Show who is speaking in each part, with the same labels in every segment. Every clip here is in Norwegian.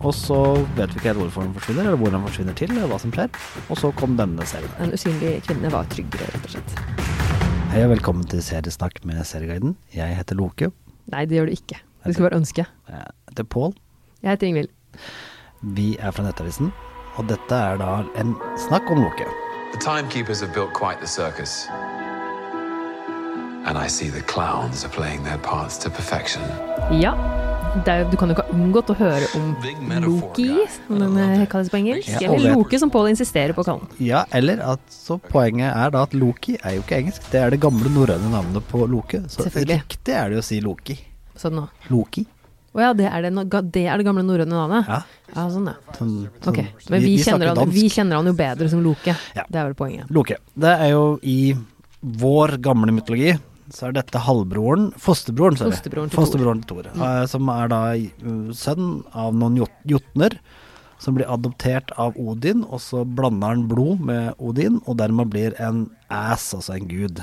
Speaker 1: Og så vet vi ikke helt hvorfor den forsvinner, eller hvor den forsvinner til, eller hva som skjer. Og så kom denne serien.
Speaker 2: Den usynlige kvinne var tryggere, rett og slett.
Speaker 1: Hei og velkommen til Seriesnakk med Serieguiden. Jeg heter Loke.
Speaker 2: Nei, det gjør du ikke. Du skal bare ønske.
Speaker 1: Jeg heter Pål.
Speaker 2: Jeg heter Ingvild.
Speaker 1: Vi er fra Nettavisen, og dette er da en snakk om Loke.
Speaker 3: The timekeepers have built quite the circus. And I see the clowns are playing their parts to perfection.
Speaker 2: Ja. Det er, jo- du kan jo ikke ha unngått å høre om
Speaker 3: Big metaphor,
Speaker 2: Loki,
Speaker 3: guy.
Speaker 2: som den eh, kalles på engelsk.
Speaker 1: Ja,
Speaker 2: Eller
Speaker 1: og-
Speaker 2: Loke, som Pål insisterer på å kalle den.
Speaker 1: Ja, eller at så poenget er da at Loki er jo ikke engelsk. Det er det gamle norrøne navnet på Loke. Så
Speaker 2: Selvfølgelig.
Speaker 1: riktig er det jo å si Loki.
Speaker 2: Sånn nå.
Speaker 1: Loki.
Speaker 2: Å ja, det er det, no- ga- det, er det gamle norrøne navnet?
Speaker 1: Ja.
Speaker 2: ja, sånn ja.
Speaker 1: Sånn- sånn-
Speaker 2: Ok, Men vi,
Speaker 1: snakker
Speaker 2: kjenner han,
Speaker 1: dansk.
Speaker 2: vi kjenner han jo bedre som Loke.
Speaker 1: Ja.
Speaker 2: Det er vel poenget.
Speaker 1: Loke. Det er jo i vår gamle mytologi så er dette halvbroren, fosterbroren, sorry.
Speaker 2: Fosterbroren til Thor. Mm.
Speaker 1: fosterbroren til Thor. eh, Som er da eh, sønn av noen jot- jotner, som blir adoptert av Odin, og så blander han blod med Odin, og dermed blir en ass, altså en gud.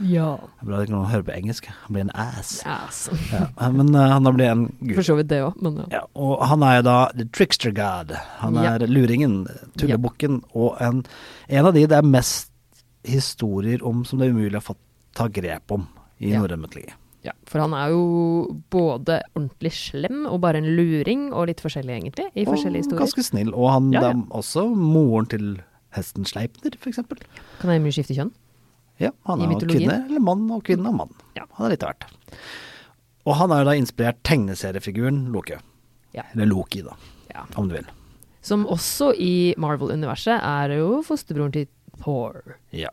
Speaker 1: Det
Speaker 2: Ja.
Speaker 1: er Bra at ikke noen hører på engelsk. Han blir en ass.
Speaker 2: Ass.
Speaker 1: Ja. Men eh, han da blir en
Speaker 2: sånn. For
Speaker 1: gud.
Speaker 2: så vidt det òg, men ja.
Speaker 1: Ja, og han er jo da the trickster god. Han
Speaker 2: Ja.
Speaker 1: er luringen, tullebukken, og en, en av de det er mest historier om som det er umulig å få ta grep om i
Speaker 2: Ja.
Speaker 1: norrøn mytologi.
Speaker 2: ja. For han er jo både ordentlig slem og bare en luring, og litt forskjellig egentlig, i
Speaker 1: Og
Speaker 2: forskjellige historier.
Speaker 1: ganske snill. Og han
Speaker 2: Ja, ja.
Speaker 1: det er også moren til hesten Sleipner, for eksempel.
Speaker 2: Kan jeg mye skifte kjønn?
Speaker 1: Ja, han
Speaker 2: I
Speaker 1: er jo
Speaker 2: mytologien.
Speaker 1: kvinne eller mann, og kvinne og mann.
Speaker 2: Ja.
Speaker 1: Han er litt av hvert. Og han er jo da inspirert tegneseriefiguren Loke.
Speaker 2: Ja.
Speaker 1: Eller Loki, da,
Speaker 2: Ja.
Speaker 1: om du vil.
Speaker 2: Som også i Marvel-universet er jo fosterbroren til Thor.
Speaker 1: Ja.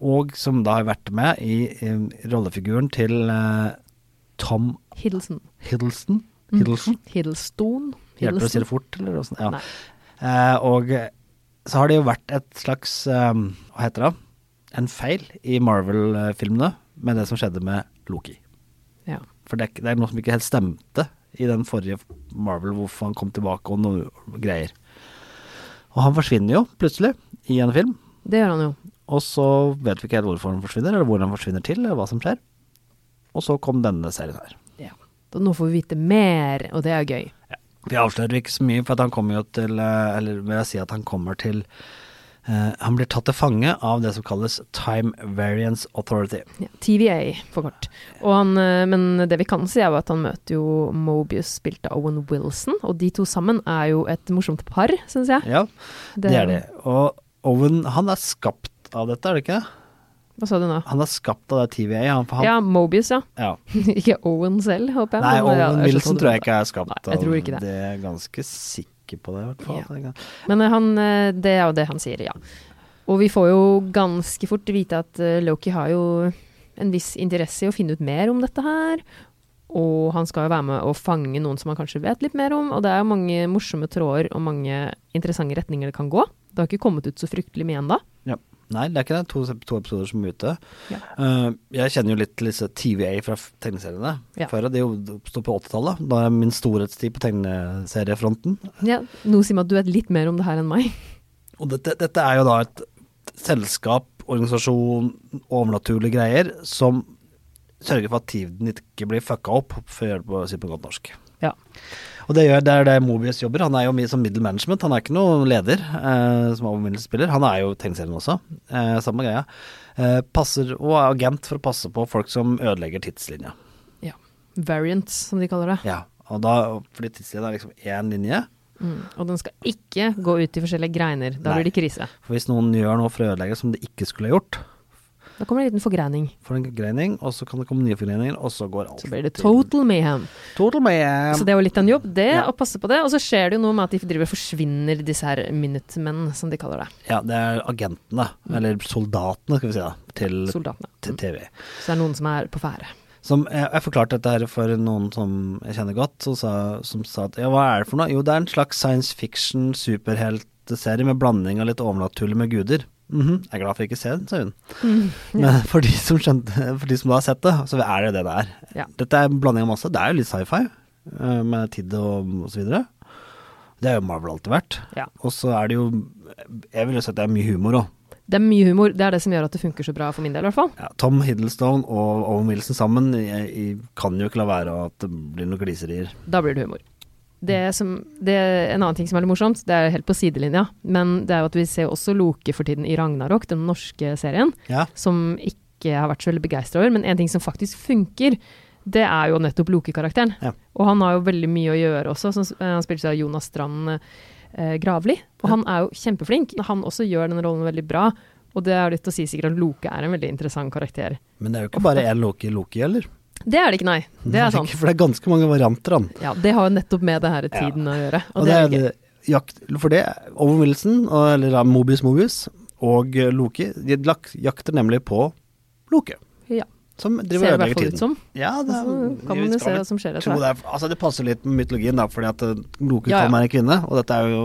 Speaker 1: Og som da har vært med i, em, rollefiguren til eh, Tom
Speaker 2: Hiddleston.
Speaker 1: Hiddleston. Hiddleston?
Speaker 2: Hiddleston.
Speaker 1: Hjelper det å si det
Speaker 2: Mhm. Hiddleston.
Speaker 1: fort, eller åssen? Ja.
Speaker 2: Nei.
Speaker 1: Eh, og så har det jo vært et slags em, Hva heter det? En feil i Marvel-filmene med det som skjedde med Loki.
Speaker 2: Ja.
Speaker 1: For det, er ikke- det er noe som ikke helt stemte i den forrige Marvel, hvorfor han kom tilbake og noe greier. Og han forsvinner jo plutselig i en film.
Speaker 2: Det gjør han jo.
Speaker 1: Og så vet vi ikke helt hvorfor den forsvinner, eller hvor den forsvinner til, eller hva som skjer. Og så kom denne serien her.
Speaker 2: Ja. Da nå får vi vite mer, og det er gøy.
Speaker 1: Vi avslører ikke så mye, for at han kommer jo til eh, Eller vil jeg si at han kommer til eh, Han blir tatt til fange av det som kalles Time Variance Authority.
Speaker 2: Ja, TVA, for kort. Og han, eh, men det vi kan si, er jo at han møter jo Mobius, spilt av Owen Wilson. Og de to sammen er jo et morsomt par, syns jeg.
Speaker 1: Ja, det
Speaker 2: Det-
Speaker 1: er det. Og Owen, han er skapt av dette, er det ikke?
Speaker 2: Hva sa du nå?
Speaker 1: Han er skapt av det TVA, han. For han
Speaker 2: Ja, Mobius, ja.
Speaker 1: ja.
Speaker 2: ikke Owen selv, håper jeg.
Speaker 1: Nei,
Speaker 2: Men, ja,
Speaker 1: Owen
Speaker 2: jeg skjønner
Speaker 1: Wilson
Speaker 2: hva du
Speaker 1: tror jeg
Speaker 2: mener.
Speaker 1: ikke er skapt
Speaker 2: Nei, jeg tror ikke det.
Speaker 1: av det. er jeg ganske sikker på det, i hvert fall.
Speaker 2: Men eh, han, eh, det er jo det han sier, ja. Og vi får jo ganske fort vite at eh, Loki har jo en viss interesse i å finne ut mer om dette her. Og han skal jo være med å fange noen som han kanskje vet litt mer om. Og det er jo mange morsomme tråder og mange interessante retninger det kan gå. Det har ikke kommet ut så fryktelig mye ennå.
Speaker 1: Ja. Nei, det er ikke det. To, to episoder som er ute.
Speaker 2: Ja.
Speaker 1: Eh, jeg kjenner jo litt til disse TVA fra f- tegneseriene.
Speaker 2: Ja.
Speaker 1: Før det jo oppsto på 80-tallet. Da er min storhetstid på tegneseriefronten.
Speaker 2: Ja, noe sier meg at du vet litt mer om det her enn meg.
Speaker 1: Og dette, dette er jo da et selskap, organisasjon, overnaturlige greier som sørger for at tiden ikke blir fucka opp, for å gjøre det på, si det på godt norsk.
Speaker 2: Ja.
Speaker 1: Og det, gjør, det er det Mobius jobber. Han er jo mye som middle management. Han er ikke noen leder eh, som overmiddelsspiller. Han er jo tegneserien også. Eh, samme greia. Eh, passer, og er agent for å passe på folk som ødelegger tidslinja.
Speaker 2: ja. Variants, som de kaller det.
Speaker 1: Ja. Og da, fordi tidslinja er liksom én linje.
Speaker 2: Mm. Og den skal ikke gå ut i forskjellige greiner. Da
Speaker 1: Nei.
Speaker 2: blir det krise.
Speaker 1: For hvis noen gjør noe for å ødelegge som de ikke skulle ha gjort,
Speaker 2: Da kommer det en liten forgreining.
Speaker 1: får en greining, og så kan det komme nye forgreininger, og så går alt
Speaker 2: Så blir det
Speaker 1: til-
Speaker 2: total mayhem.
Speaker 1: Total mayhem.
Speaker 2: Så det er jo litt av en jobb, det,
Speaker 1: Ja.
Speaker 2: å passe på det. Og så skjer det jo noe med at de driver og forsvinner, disse her minutemen, som de kaller det.
Speaker 1: Ja, det er agentene, eller soldatene, skal vi si da, til,
Speaker 2: Soldatene.
Speaker 1: til TV.
Speaker 2: Så det er noen som er på ferde.
Speaker 1: Som, eh, jeg, jeg forklarte dette her for noen som jeg kjenner godt, som sa, som sa at ja, hva er det for noe? Jo, det er en slags science fiction superheltserie med blanding av litt overnaturlig med guder. Mhm, Jeg er glad for ikke å se den, sa hun. Men for de som, skjønte, for de som da har sett det, så er det jo det det er.
Speaker 2: Ja.
Speaker 1: Dette er en blanding av masse. Det er jo litt sci-fi, eh, med tid og, og så videre. Det er jo Marvel alltid vært.
Speaker 2: Ja.
Speaker 1: Og så er det jo Jeg vil jo si at det er mye humor òg.
Speaker 2: Det er mye humor. Det er det som gjør at det funker så bra, for min del i hvert fall.
Speaker 1: Ja, Tom Hiddleston og Owen Wilson sammen jeg, jeg kan jo ikke la være at det blir noen gliserier.
Speaker 2: Da blir det humor. Det som, det, en annen ting som er litt morsomt, det er helt på sidelinja, men det er jo at vi ser også Loke for tiden i Ragnarok, den norske serien,
Speaker 1: Ja.
Speaker 2: som ikke har vært så veldig begeistra over. Men en ting som faktisk funker, det er jo nettopp Loke-karakteren.
Speaker 1: Ja.
Speaker 2: Og han har jo veldig mye å gjøre også. Som, eh, han spilles av Jonas Strand eh, Gravli, og han er jo kjempeflink. Han også gjør den rollen veldig bra, og det er jo litt å si sikkert at Loke er en veldig interessant karakter.
Speaker 1: Men det er jo ikke bare én Loki Loki, eller?
Speaker 2: Det er det ikke, nei. Det er sant.
Speaker 1: For det er ganske mange varianter, han.
Speaker 2: Ja, det har jo nettopp med det her tiden å gjøre. Og,
Speaker 1: Og det er det, jakt, for det, Owen Wilson, og- eller da Mobius Mobius, og eh, Loki, de lak, jakter nemlig på Loke.
Speaker 2: gøy. Ja,
Speaker 1: Som driver
Speaker 2: ser
Speaker 1: og
Speaker 2: det i
Speaker 1: ødelegger
Speaker 2: hvert fall ut
Speaker 1: tiden.
Speaker 2: som.
Speaker 1: Ja, det er,
Speaker 2: Så kan man jo se hva som skjer etter
Speaker 1: Tro det,
Speaker 2: hvert.
Speaker 1: er, altså det passer litt med mytologien, da, fordi at eh, Loke
Speaker 2: Ja, ja.
Speaker 1: kom er en kvinne. Og dette er jo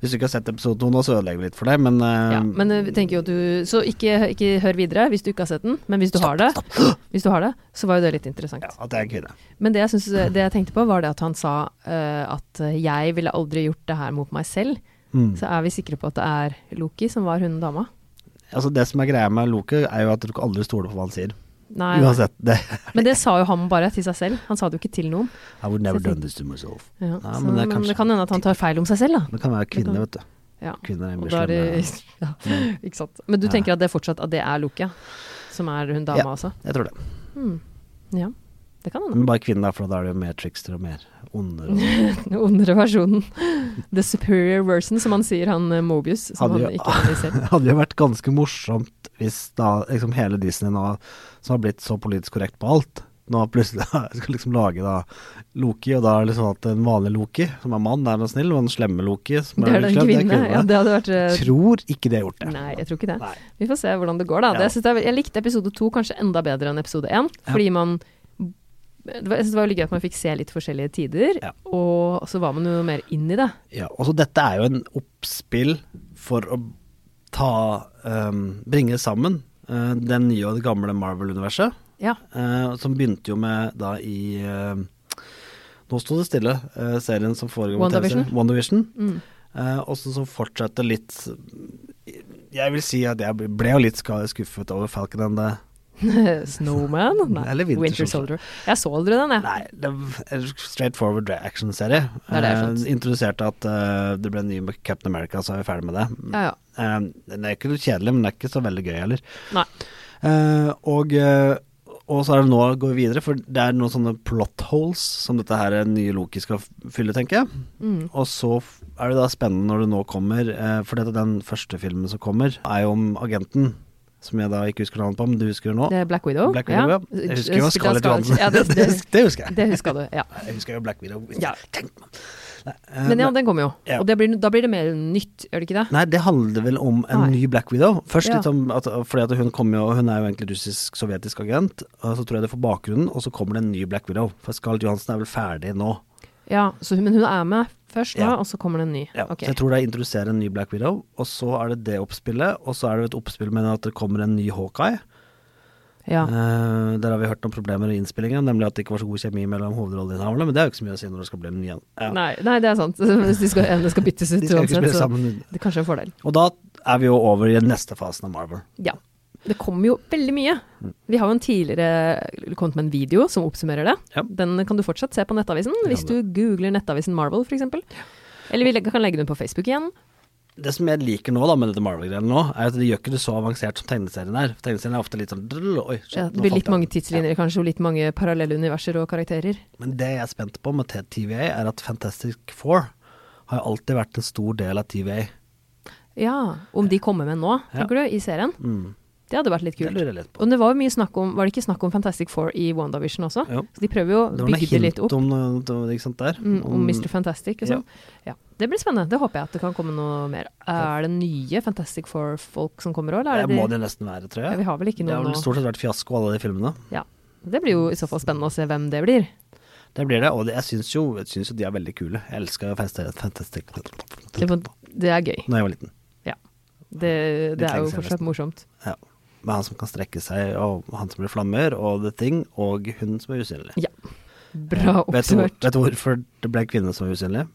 Speaker 1: Hvis du ikke har sett episode to nå, så ødelegger vi litt for deg, men, eh,
Speaker 2: Ja, men eh, vi tenker jo at du Så ikke, ikke hør videre hvis du ikke har sett den, men hvis du har det, hvis du har det så var jo det litt interessant.
Speaker 1: ja, at det er en kvinne.
Speaker 2: Men det jeg, synes, det jeg tenkte på, var det at han sa eh, at jeg ville aldri gjort det her mot meg selv.
Speaker 1: Mm.
Speaker 2: Så er vi sikre på at det er Loki som var hun dama?
Speaker 1: Altså Det som er greia med Loke, er jo at du kan aldri stole på hva han sier.
Speaker 2: Nei. nei.
Speaker 1: Uansett. Det.
Speaker 2: Men det sa jo han bare til seg selv. Han sa det jo ikke til noen.
Speaker 1: I would never
Speaker 2: Så jeg
Speaker 1: done this to myself.
Speaker 2: Ja,
Speaker 1: Ja,
Speaker 2: så,
Speaker 1: men
Speaker 2: men,
Speaker 1: det er
Speaker 2: det,
Speaker 1: kanskje-
Speaker 2: kan hende at han tar feil om seg selv, da.
Speaker 1: Det kan være kvinne,
Speaker 2: kan-
Speaker 1: vet du.
Speaker 2: Ja.
Speaker 1: Kvinner er eh,
Speaker 2: Og
Speaker 1: mye
Speaker 2: da er det,
Speaker 1: slemmere.
Speaker 2: ja, ikke sant. Men du
Speaker 1: Ja.
Speaker 2: tenker at det fortsatt at det er Loki, ja, som er hun dama,
Speaker 1: Ja.
Speaker 2: altså?
Speaker 1: Jeg tror det.
Speaker 2: Hmm. Ja. Det kan hende.
Speaker 1: Men bare kvinner, da, for da er det jo mer trickster og mer onder. Og
Speaker 2: Den ondere versjonen. The superior version, som han sier, han eh, Mobius. Som
Speaker 1: Hadde
Speaker 2: han
Speaker 1: jo-
Speaker 2: ikke er i selv.
Speaker 1: Det hadde jo vært ganske morsomt hvis da liksom hele Disney nå, som har blitt så politisk korrekt på alt, nå plutselig skal liksom lage da Loki, og da er det liksom at en vanlig Loki, som er mann, er noe snill, og en slemme Loki som
Speaker 2: Det er den
Speaker 1: slem, det er
Speaker 2: kvinne. Ja, det hadde vært eh,
Speaker 1: Tror ikke de har gjort det.
Speaker 2: Nei, jeg tror ikke det.
Speaker 1: Nei.
Speaker 2: Vi får se hvordan det går, da.
Speaker 1: Ja.
Speaker 2: Det, jeg, synes det er, jeg likte episode to kanskje enda bedre enn episode én,
Speaker 1: Ja.
Speaker 2: fordi man det var, jeg synes det var veldig gøy at man fikk se litt forskjellige tider,
Speaker 1: Ja.
Speaker 2: og så var man jo mer inn i det.
Speaker 1: Ja, og så dette er jo en oppspill for å ta, ehm, bringe sammen eh, den nye og det gamle Marvel-universet.
Speaker 2: Ja.
Speaker 1: Eh, som begynte jo med da i eh, Nå sto det stille, eh, serien som foregår på
Speaker 2: WandaVision?
Speaker 1: TV-serien, WandaVision.
Speaker 2: Mm.
Speaker 1: Eh, og så som fortsatte litt Jeg vil si at jeg ble- ble jo litt ska- skuffet over Falcon and the
Speaker 2: Snowman? Nei.
Speaker 1: Eller Winter Soldier.
Speaker 2: Soldier. Jeg så aldri den, jeg.
Speaker 1: Nei, det var en straight forward action-serie.
Speaker 2: Det er det jeg har skjønt.
Speaker 1: Eh, introduserte at eh, det ble en ny Captain America, så er vi ferdig med det.
Speaker 2: Ja, ja.
Speaker 1: Eh, den er ikke noe kjedelig, men den er ikke så veldig gøy heller.
Speaker 2: Nei.
Speaker 1: Eh, og, eh, og så er det nå å gå videre, for det er noen sånne plot holes som dette her eh, nye Loki skal f- fylle, tenker jeg.
Speaker 2: Mm.
Speaker 1: Og så f- er det da spennende når det nå kommer, eh, for dette, den første filmen som kommer, er jo om agenten, som jeg da ikke husker navnet på, men du husker det nå.
Speaker 2: Det er Black Widow.
Speaker 1: Black Widow, ja. Jeg husker jo
Speaker 2: Spilt av
Speaker 1: Scarlett Johansson.
Speaker 2: Ja, det,
Speaker 1: det,
Speaker 2: det,
Speaker 1: husker- det husker jeg.
Speaker 2: det huska du. Ja.
Speaker 1: Jeg husker jo Black Widow.
Speaker 2: Ja.
Speaker 1: Tenk meg. Nei, eh,
Speaker 2: Men ja, den kommer jo.
Speaker 1: Ja.
Speaker 2: Og det blir, da blir det mer nytt, gjør det ikke det?
Speaker 1: Nei, det handler vel om en
Speaker 2: Nei.
Speaker 1: ny Black Widow. Først
Speaker 2: Ja.
Speaker 1: litt om at, fordi at hun kommer jo Hun er jo egentlig russisk-sovjetisk agent, og så tror jeg det får bakgrunnen, og så kommer det en ny Black Widow. For Scarlett Johansen er vel ferdig nå.
Speaker 2: Ja, så, hun- Men hun er med først nå,
Speaker 1: Ja.
Speaker 2: og så kommer det en ny.
Speaker 1: Ja.
Speaker 2: Ok.
Speaker 1: Så jeg tror det er introdusere en ny Black Widow, og så er det det oppspillet, og så er det et oppspill med at det kommer en ny Hawkeye.
Speaker 2: Ja.
Speaker 1: Eh, der har vi hørt noen problemer i innspillingen, nemlig at det ikke var så god kjemi mellom hovedrolleinnehaverne, men det er jo ikke så mye å si når det skal bli en ny en. Ja.
Speaker 2: Nei, nei, det er sant. Hvis de skal, ene skal byttes ut
Speaker 1: De skal ikke
Speaker 2: uansett,
Speaker 1: spille
Speaker 2: så
Speaker 1: sammen.
Speaker 2: det er kanskje en fordel.
Speaker 1: Og da er vi jo over i den neste fasen av Marvel.
Speaker 2: Ja. Det kommer jo veldig mye. Vi har jo en tidligere kommet med en video som oppsummerer det.
Speaker 1: Ja.
Speaker 2: Den kan du fortsatt se på Nettavisen,
Speaker 1: Ja,
Speaker 2: hvis du googler Nettavisen Marvel f.eks. Eller vi legger- kan legge den på Facebook igjen.
Speaker 1: det som jeg liker nå da med dette Marvel-greiene nå, er at de gjør ikke det så avansert som tegneserien er. For tegneserien er ofte litt sånn drrrl, Oi, shit,
Speaker 2: Ja,
Speaker 1: nå
Speaker 2: det blir
Speaker 1: falt
Speaker 2: litt
Speaker 1: jeg.
Speaker 2: mange tidslinjer kanskje, og litt mange parallelle universer og karakterer.
Speaker 1: Men det jeg er spent på med TVA, er at Fantastic Four har alltid vært en stor del av TVA.
Speaker 2: Ja, Om de kommer med nå,
Speaker 1: Ja.
Speaker 2: tenker du, i serien?
Speaker 1: Mm.
Speaker 2: Det hadde vært litt
Speaker 1: Det
Speaker 2: kult.
Speaker 1: lurer jeg litt på.
Speaker 2: Og det var jo mye snakk om Var det ikke snakk om Fantastic Four i WandaVision også?
Speaker 1: Jo.
Speaker 2: Så de prøver jo å
Speaker 1: Det var noe
Speaker 2: bygge det
Speaker 1: hint
Speaker 2: litt opp.
Speaker 1: om noe noe- ikke sant, der.
Speaker 2: Mm, om Mr. Fantastic og
Speaker 1: Ja.
Speaker 2: sånn. Ja. Det blir spennende. Det håper jeg at det kan komme noe mer. Er det nye Fantastic Four-folk som kommer òg, eller
Speaker 1: Det
Speaker 2: er det
Speaker 1: må
Speaker 2: de
Speaker 1: det nesten være, tror
Speaker 2: ja,
Speaker 1: jeg.
Speaker 2: Vi har vel ikke
Speaker 1: det har
Speaker 2: noen
Speaker 1: vel
Speaker 2: nå?
Speaker 1: stort sett vært fiasko, alle de filmene.
Speaker 2: Ja. Det blir jo i så fall spennende å se hvem det blir.
Speaker 1: Det blir det, og det, jeg syns jo, jeg syns jo de er veldig kule. Jeg elska Fantastic Four
Speaker 2: Det,
Speaker 1: da
Speaker 2: det er gøy.
Speaker 1: jeg var liten.
Speaker 2: Ja. Det,
Speaker 1: Litt
Speaker 2: det
Speaker 1: lenge
Speaker 2: er jo
Speaker 1: siden
Speaker 2: fortsatt
Speaker 1: nesten.
Speaker 2: morsomt.
Speaker 1: Ja. Med han som kan strekke seg, og han som blir flammer, og The Thing, og hun som er usynlig.
Speaker 2: Ja. Bra
Speaker 1: Eh, Vet du, hvor-
Speaker 2: oppsummert.
Speaker 1: vet du hvorfor det ble kvinne som var usynlig?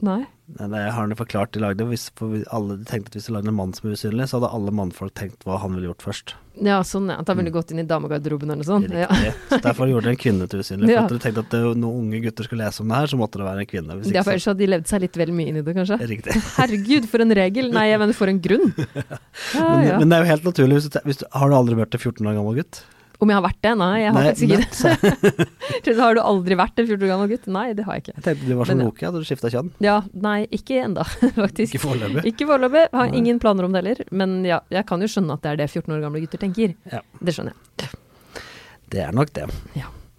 Speaker 2: Nei.
Speaker 1: Nei, Det har han jo forklart. De lagde, hvis, for vi- alle de tenkte at hvis de lagde en mann som er usynlig, så hadde alle mannfolk tenkt hva han ville gjort først.
Speaker 2: Ja, sånn, ja. Da ville
Speaker 1: Mm.
Speaker 2: du gått inn i damegarderoben eller noe sånt. Ja.
Speaker 1: Riktig. Så derfor gjorde de en kvinne til usynlig. For
Speaker 2: Ja.
Speaker 1: at de tenkte at det- når unge gutter skulle lese om det her, så måtte det være en kvinne. Hvis
Speaker 2: Ja, for
Speaker 1: ikke,
Speaker 2: ellers hadde de levd seg litt vel mye inn i det, kanskje.
Speaker 1: så, riktig.
Speaker 2: Herregud, for en regel! Nei, jeg mener for en grunn. Ja,
Speaker 1: Men,
Speaker 2: Ah, ja.
Speaker 1: men det er jo helt naturlig. Hvis du, te- hvis du, har du aldri vært en 14 år gammel gutt?
Speaker 2: Om jeg har vært det? Nei, jeg har
Speaker 1: Nei,
Speaker 2: faktisk ikke det.
Speaker 1: nett.
Speaker 2: Tror du, Har du aldri vært en 14 år gammel gutt? Nei, det har jeg ikke.
Speaker 1: Jeg tenkte du var som
Speaker 2: Men-
Speaker 1: Loki, hadde du skifta kjønn?
Speaker 2: Ja, nei, ikke enda, faktisk.
Speaker 1: Ikke foreløpig.
Speaker 2: Ikke foreløpig. Har
Speaker 1: Nei.
Speaker 2: ingen planer om det heller. Men ja, jeg kan jo skjønne at det er det 14 år gamle gutter tenker.
Speaker 1: Ja.
Speaker 2: Det skjønner jeg.
Speaker 1: Det er nok det.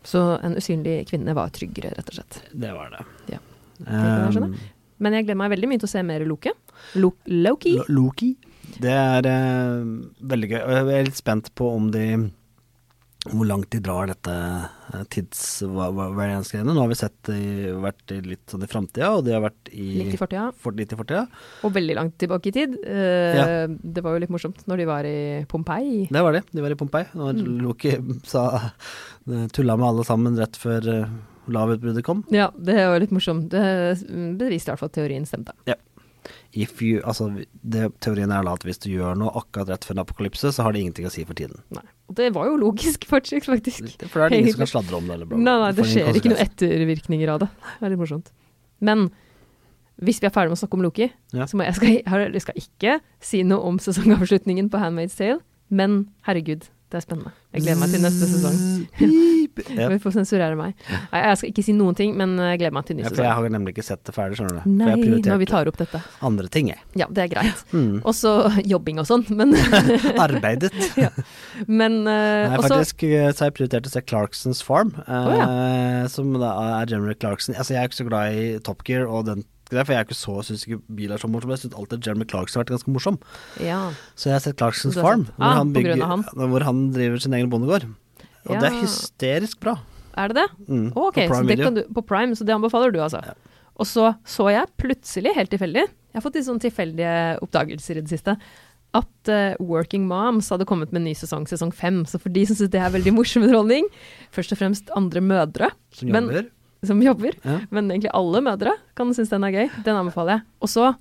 Speaker 2: Så en usynlig kvinne var tryggere, rett og slett.
Speaker 1: Det var det. Ehm,
Speaker 2: Ja. kan jeg skjønne. Men jeg gleder meg veldig mye til å se mer Loke. Lo Loki.
Speaker 1: Lo- Loki. Det er eh, veldig gøy. Og Jeg er litt spent på om de hvor langt de drar dette eh, tids hva- hva- variance-greiene. Nå har vi sett de vært i litt sånn i framtida, og de har vært i
Speaker 2: Litt i fortida,
Speaker 1: for- litt i fortida.
Speaker 2: og veldig langt tilbake i tid. Eh, Det var jo litt morsomt når de var i Pompeii.
Speaker 1: Det var de. De var i Pompeii. Når
Speaker 2: Mm.
Speaker 1: Loki sa tulla med alle sammen rett før eh, lavutbruddet kom.
Speaker 2: Ja, det var litt morsomt. Det beviste i hvert fall at teorien stemte.
Speaker 1: If you, altså, det, teorien er da at hvis du gjør noe akkurat rett før en apokalypse, så har det ingenting å si for tiden.
Speaker 2: Nei. Og det var jo logisk, faktisk. faktisk.
Speaker 1: For da er det ingen som kan sladre om det. Eller bla, bla.
Speaker 2: Nei, nei, det
Speaker 1: Får ingen
Speaker 2: skjer ikke noen
Speaker 1: konsekvenser.
Speaker 2: ettervirkninger av det. Det er litt morsomt. Men hvis vi er ferdig med å snakke om Loki,
Speaker 1: Ja.
Speaker 2: så må jeg, skal, jeg- jeg skal ikke si noe om sesongavslutningen på Handmaid's Tale, men herregud, det er spennende. Jeg gleder meg til neste sesong.
Speaker 1: Pip. Mm, Ja.
Speaker 2: Vi får sensurere meg. Nei, Jeg skal ikke si noen ting, men eh, jeg gleder meg til ny
Speaker 1: Ja, for jeg
Speaker 2: sesong.
Speaker 1: har nemlig ikke sett det ferdig, skjønner du.
Speaker 2: Nei,
Speaker 1: for jeg
Speaker 2: når vi
Speaker 1: prioriterte
Speaker 2: tar opp dette.
Speaker 1: andre ting, jeg.
Speaker 2: Ja, det er greit.
Speaker 1: Mm.
Speaker 2: Og så jobbing og sånn, men,
Speaker 1: Arbeidet.
Speaker 2: men
Speaker 1: Jeg
Speaker 2: eh,
Speaker 1: har
Speaker 2: også
Speaker 1: faktisk eh, så har jeg prioritert å se Clarksons Farm, eh, som da er Jeremy Clarkson. Altså, jeg er ikke så glad i Top Gear og den greia, for jeg er ikke så, synes ikke bil er så morsom. Jeg syns alltid Jeremy Clarkson har vært ganske morsom.
Speaker 2: Ja.
Speaker 1: Så jeg har sett Clarksons
Speaker 2: Du har
Speaker 1: Farm,
Speaker 2: sett-
Speaker 1: hvor,
Speaker 2: Ah,
Speaker 1: han
Speaker 2: på grunn
Speaker 1: bygger,
Speaker 2: av
Speaker 1: hvor han driver sin egen bondegård. Og det er
Speaker 2: Ja.
Speaker 1: hysterisk bra.
Speaker 2: Er det det?
Speaker 1: Mm,
Speaker 2: Å, ok,
Speaker 1: på Prime
Speaker 2: så det
Speaker 1: Video.
Speaker 2: kan du, på Prime, så det anbefaler du altså. Og så så jeg plutselig, helt tilfeldig, jeg har fått litt sånn tilfeldige oppdagelser i det siste, at eh, Working Moms hadde kommet med en ny sesong, sesong fem. Så for de som syns det er veldig morsom underholdning, først og fremst andre mødre
Speaker 1: Som
Speaker 2: men-
Speaker 1: jobber.
Speaker 2: som jobber,
Speaker 1: Ja.
Speaker 2: men egentlig alle mødre kan synes den er gøy. Den anbefaler jeg. Og så,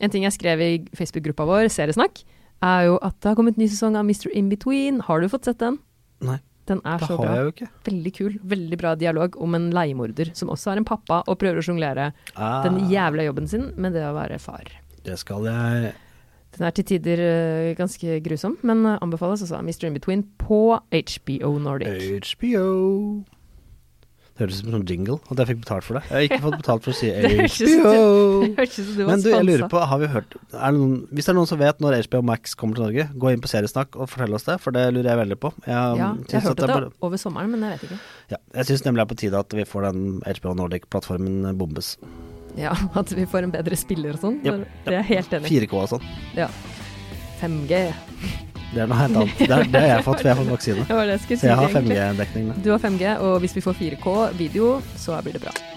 Speaker 2: en ting jeg skrev i Facebook-gruppa vår, Seriesnakk, er jo at det har kommet en ny sesong av Mr. In Between. Har du fått sett den?
Speaker 1: Nei,
Speaker 2: Den er
Speaker 1: det
Speaker 2: så
Speaker 1: har
Speaker 2: bra.
Speaker 1: jeg jo ikke.
Speaker 2: Veldig kul, veldig bra dialog om en leiemorder som også er en pappa og prøver å sjonglere
Speaker 1: Ah,
Speaker 2: den jævla jobben sin med det å være far.
Speaker 1: det skal jeg
Speaker 2: Den er til tider øh, ganske grusom, men øh, anbefales altså av Mr. Inbetween på HBO Nordic.
Speaker 1: HBO. Det høres ut som en sånn jingle, at jeg fikk betalt for det. Jeg har ikke fått betalt for å si
Speaker 2: høres ut som-
Speaker 1: HBO.
Speaker 2: Hørtes ut som du var
Speaker 1: Men du, jeg lurer
Speaker 2: sponsa.
Speaker 1: på, har vi hørt er det noen, Hvis det er noen som vet når HBO Max kommer til Norge, gå inn på Seriesnakk og fortell oss det, for det lurer jeg veldig på. Jeg,
Speaker 2: Ja,
Speaker 1: synes
Speaker 2: jeg
Speaker 1: um, at
Speaker 2: hørte
Speaker 1: er
Speaker 2: det
Speaker 1: bare-
Speaker 2: over sommeren, men jeg vet ikke.
Speaker 1: ja, jeg syns nemlig det er på tide at vi får den HBO Nordic-plattformen bombes.
Speaker 2: Ja, At vi får en bedre spiller og sånn.
Speaker 1: Ja,
Speaker 2: for Det er jeg helt enig i.
Speaker 1: 4K og sånn.
Speaker 2: Ja. 5G.
Speaker 1: Det er noe helt annet. Det, er, det har jeg fått, for jeg har fått vaksine.
Speaker 2: Det var det jeg skulle
Speaker 1: Så
Speaker 2: si.
Speaker 1: jeg har
Speaker 2: egentlig.
Speaker 1: 5G-dekning. da.
Speaker 2: Du har 5G, og hvis vi får 4K video, så blir det bra.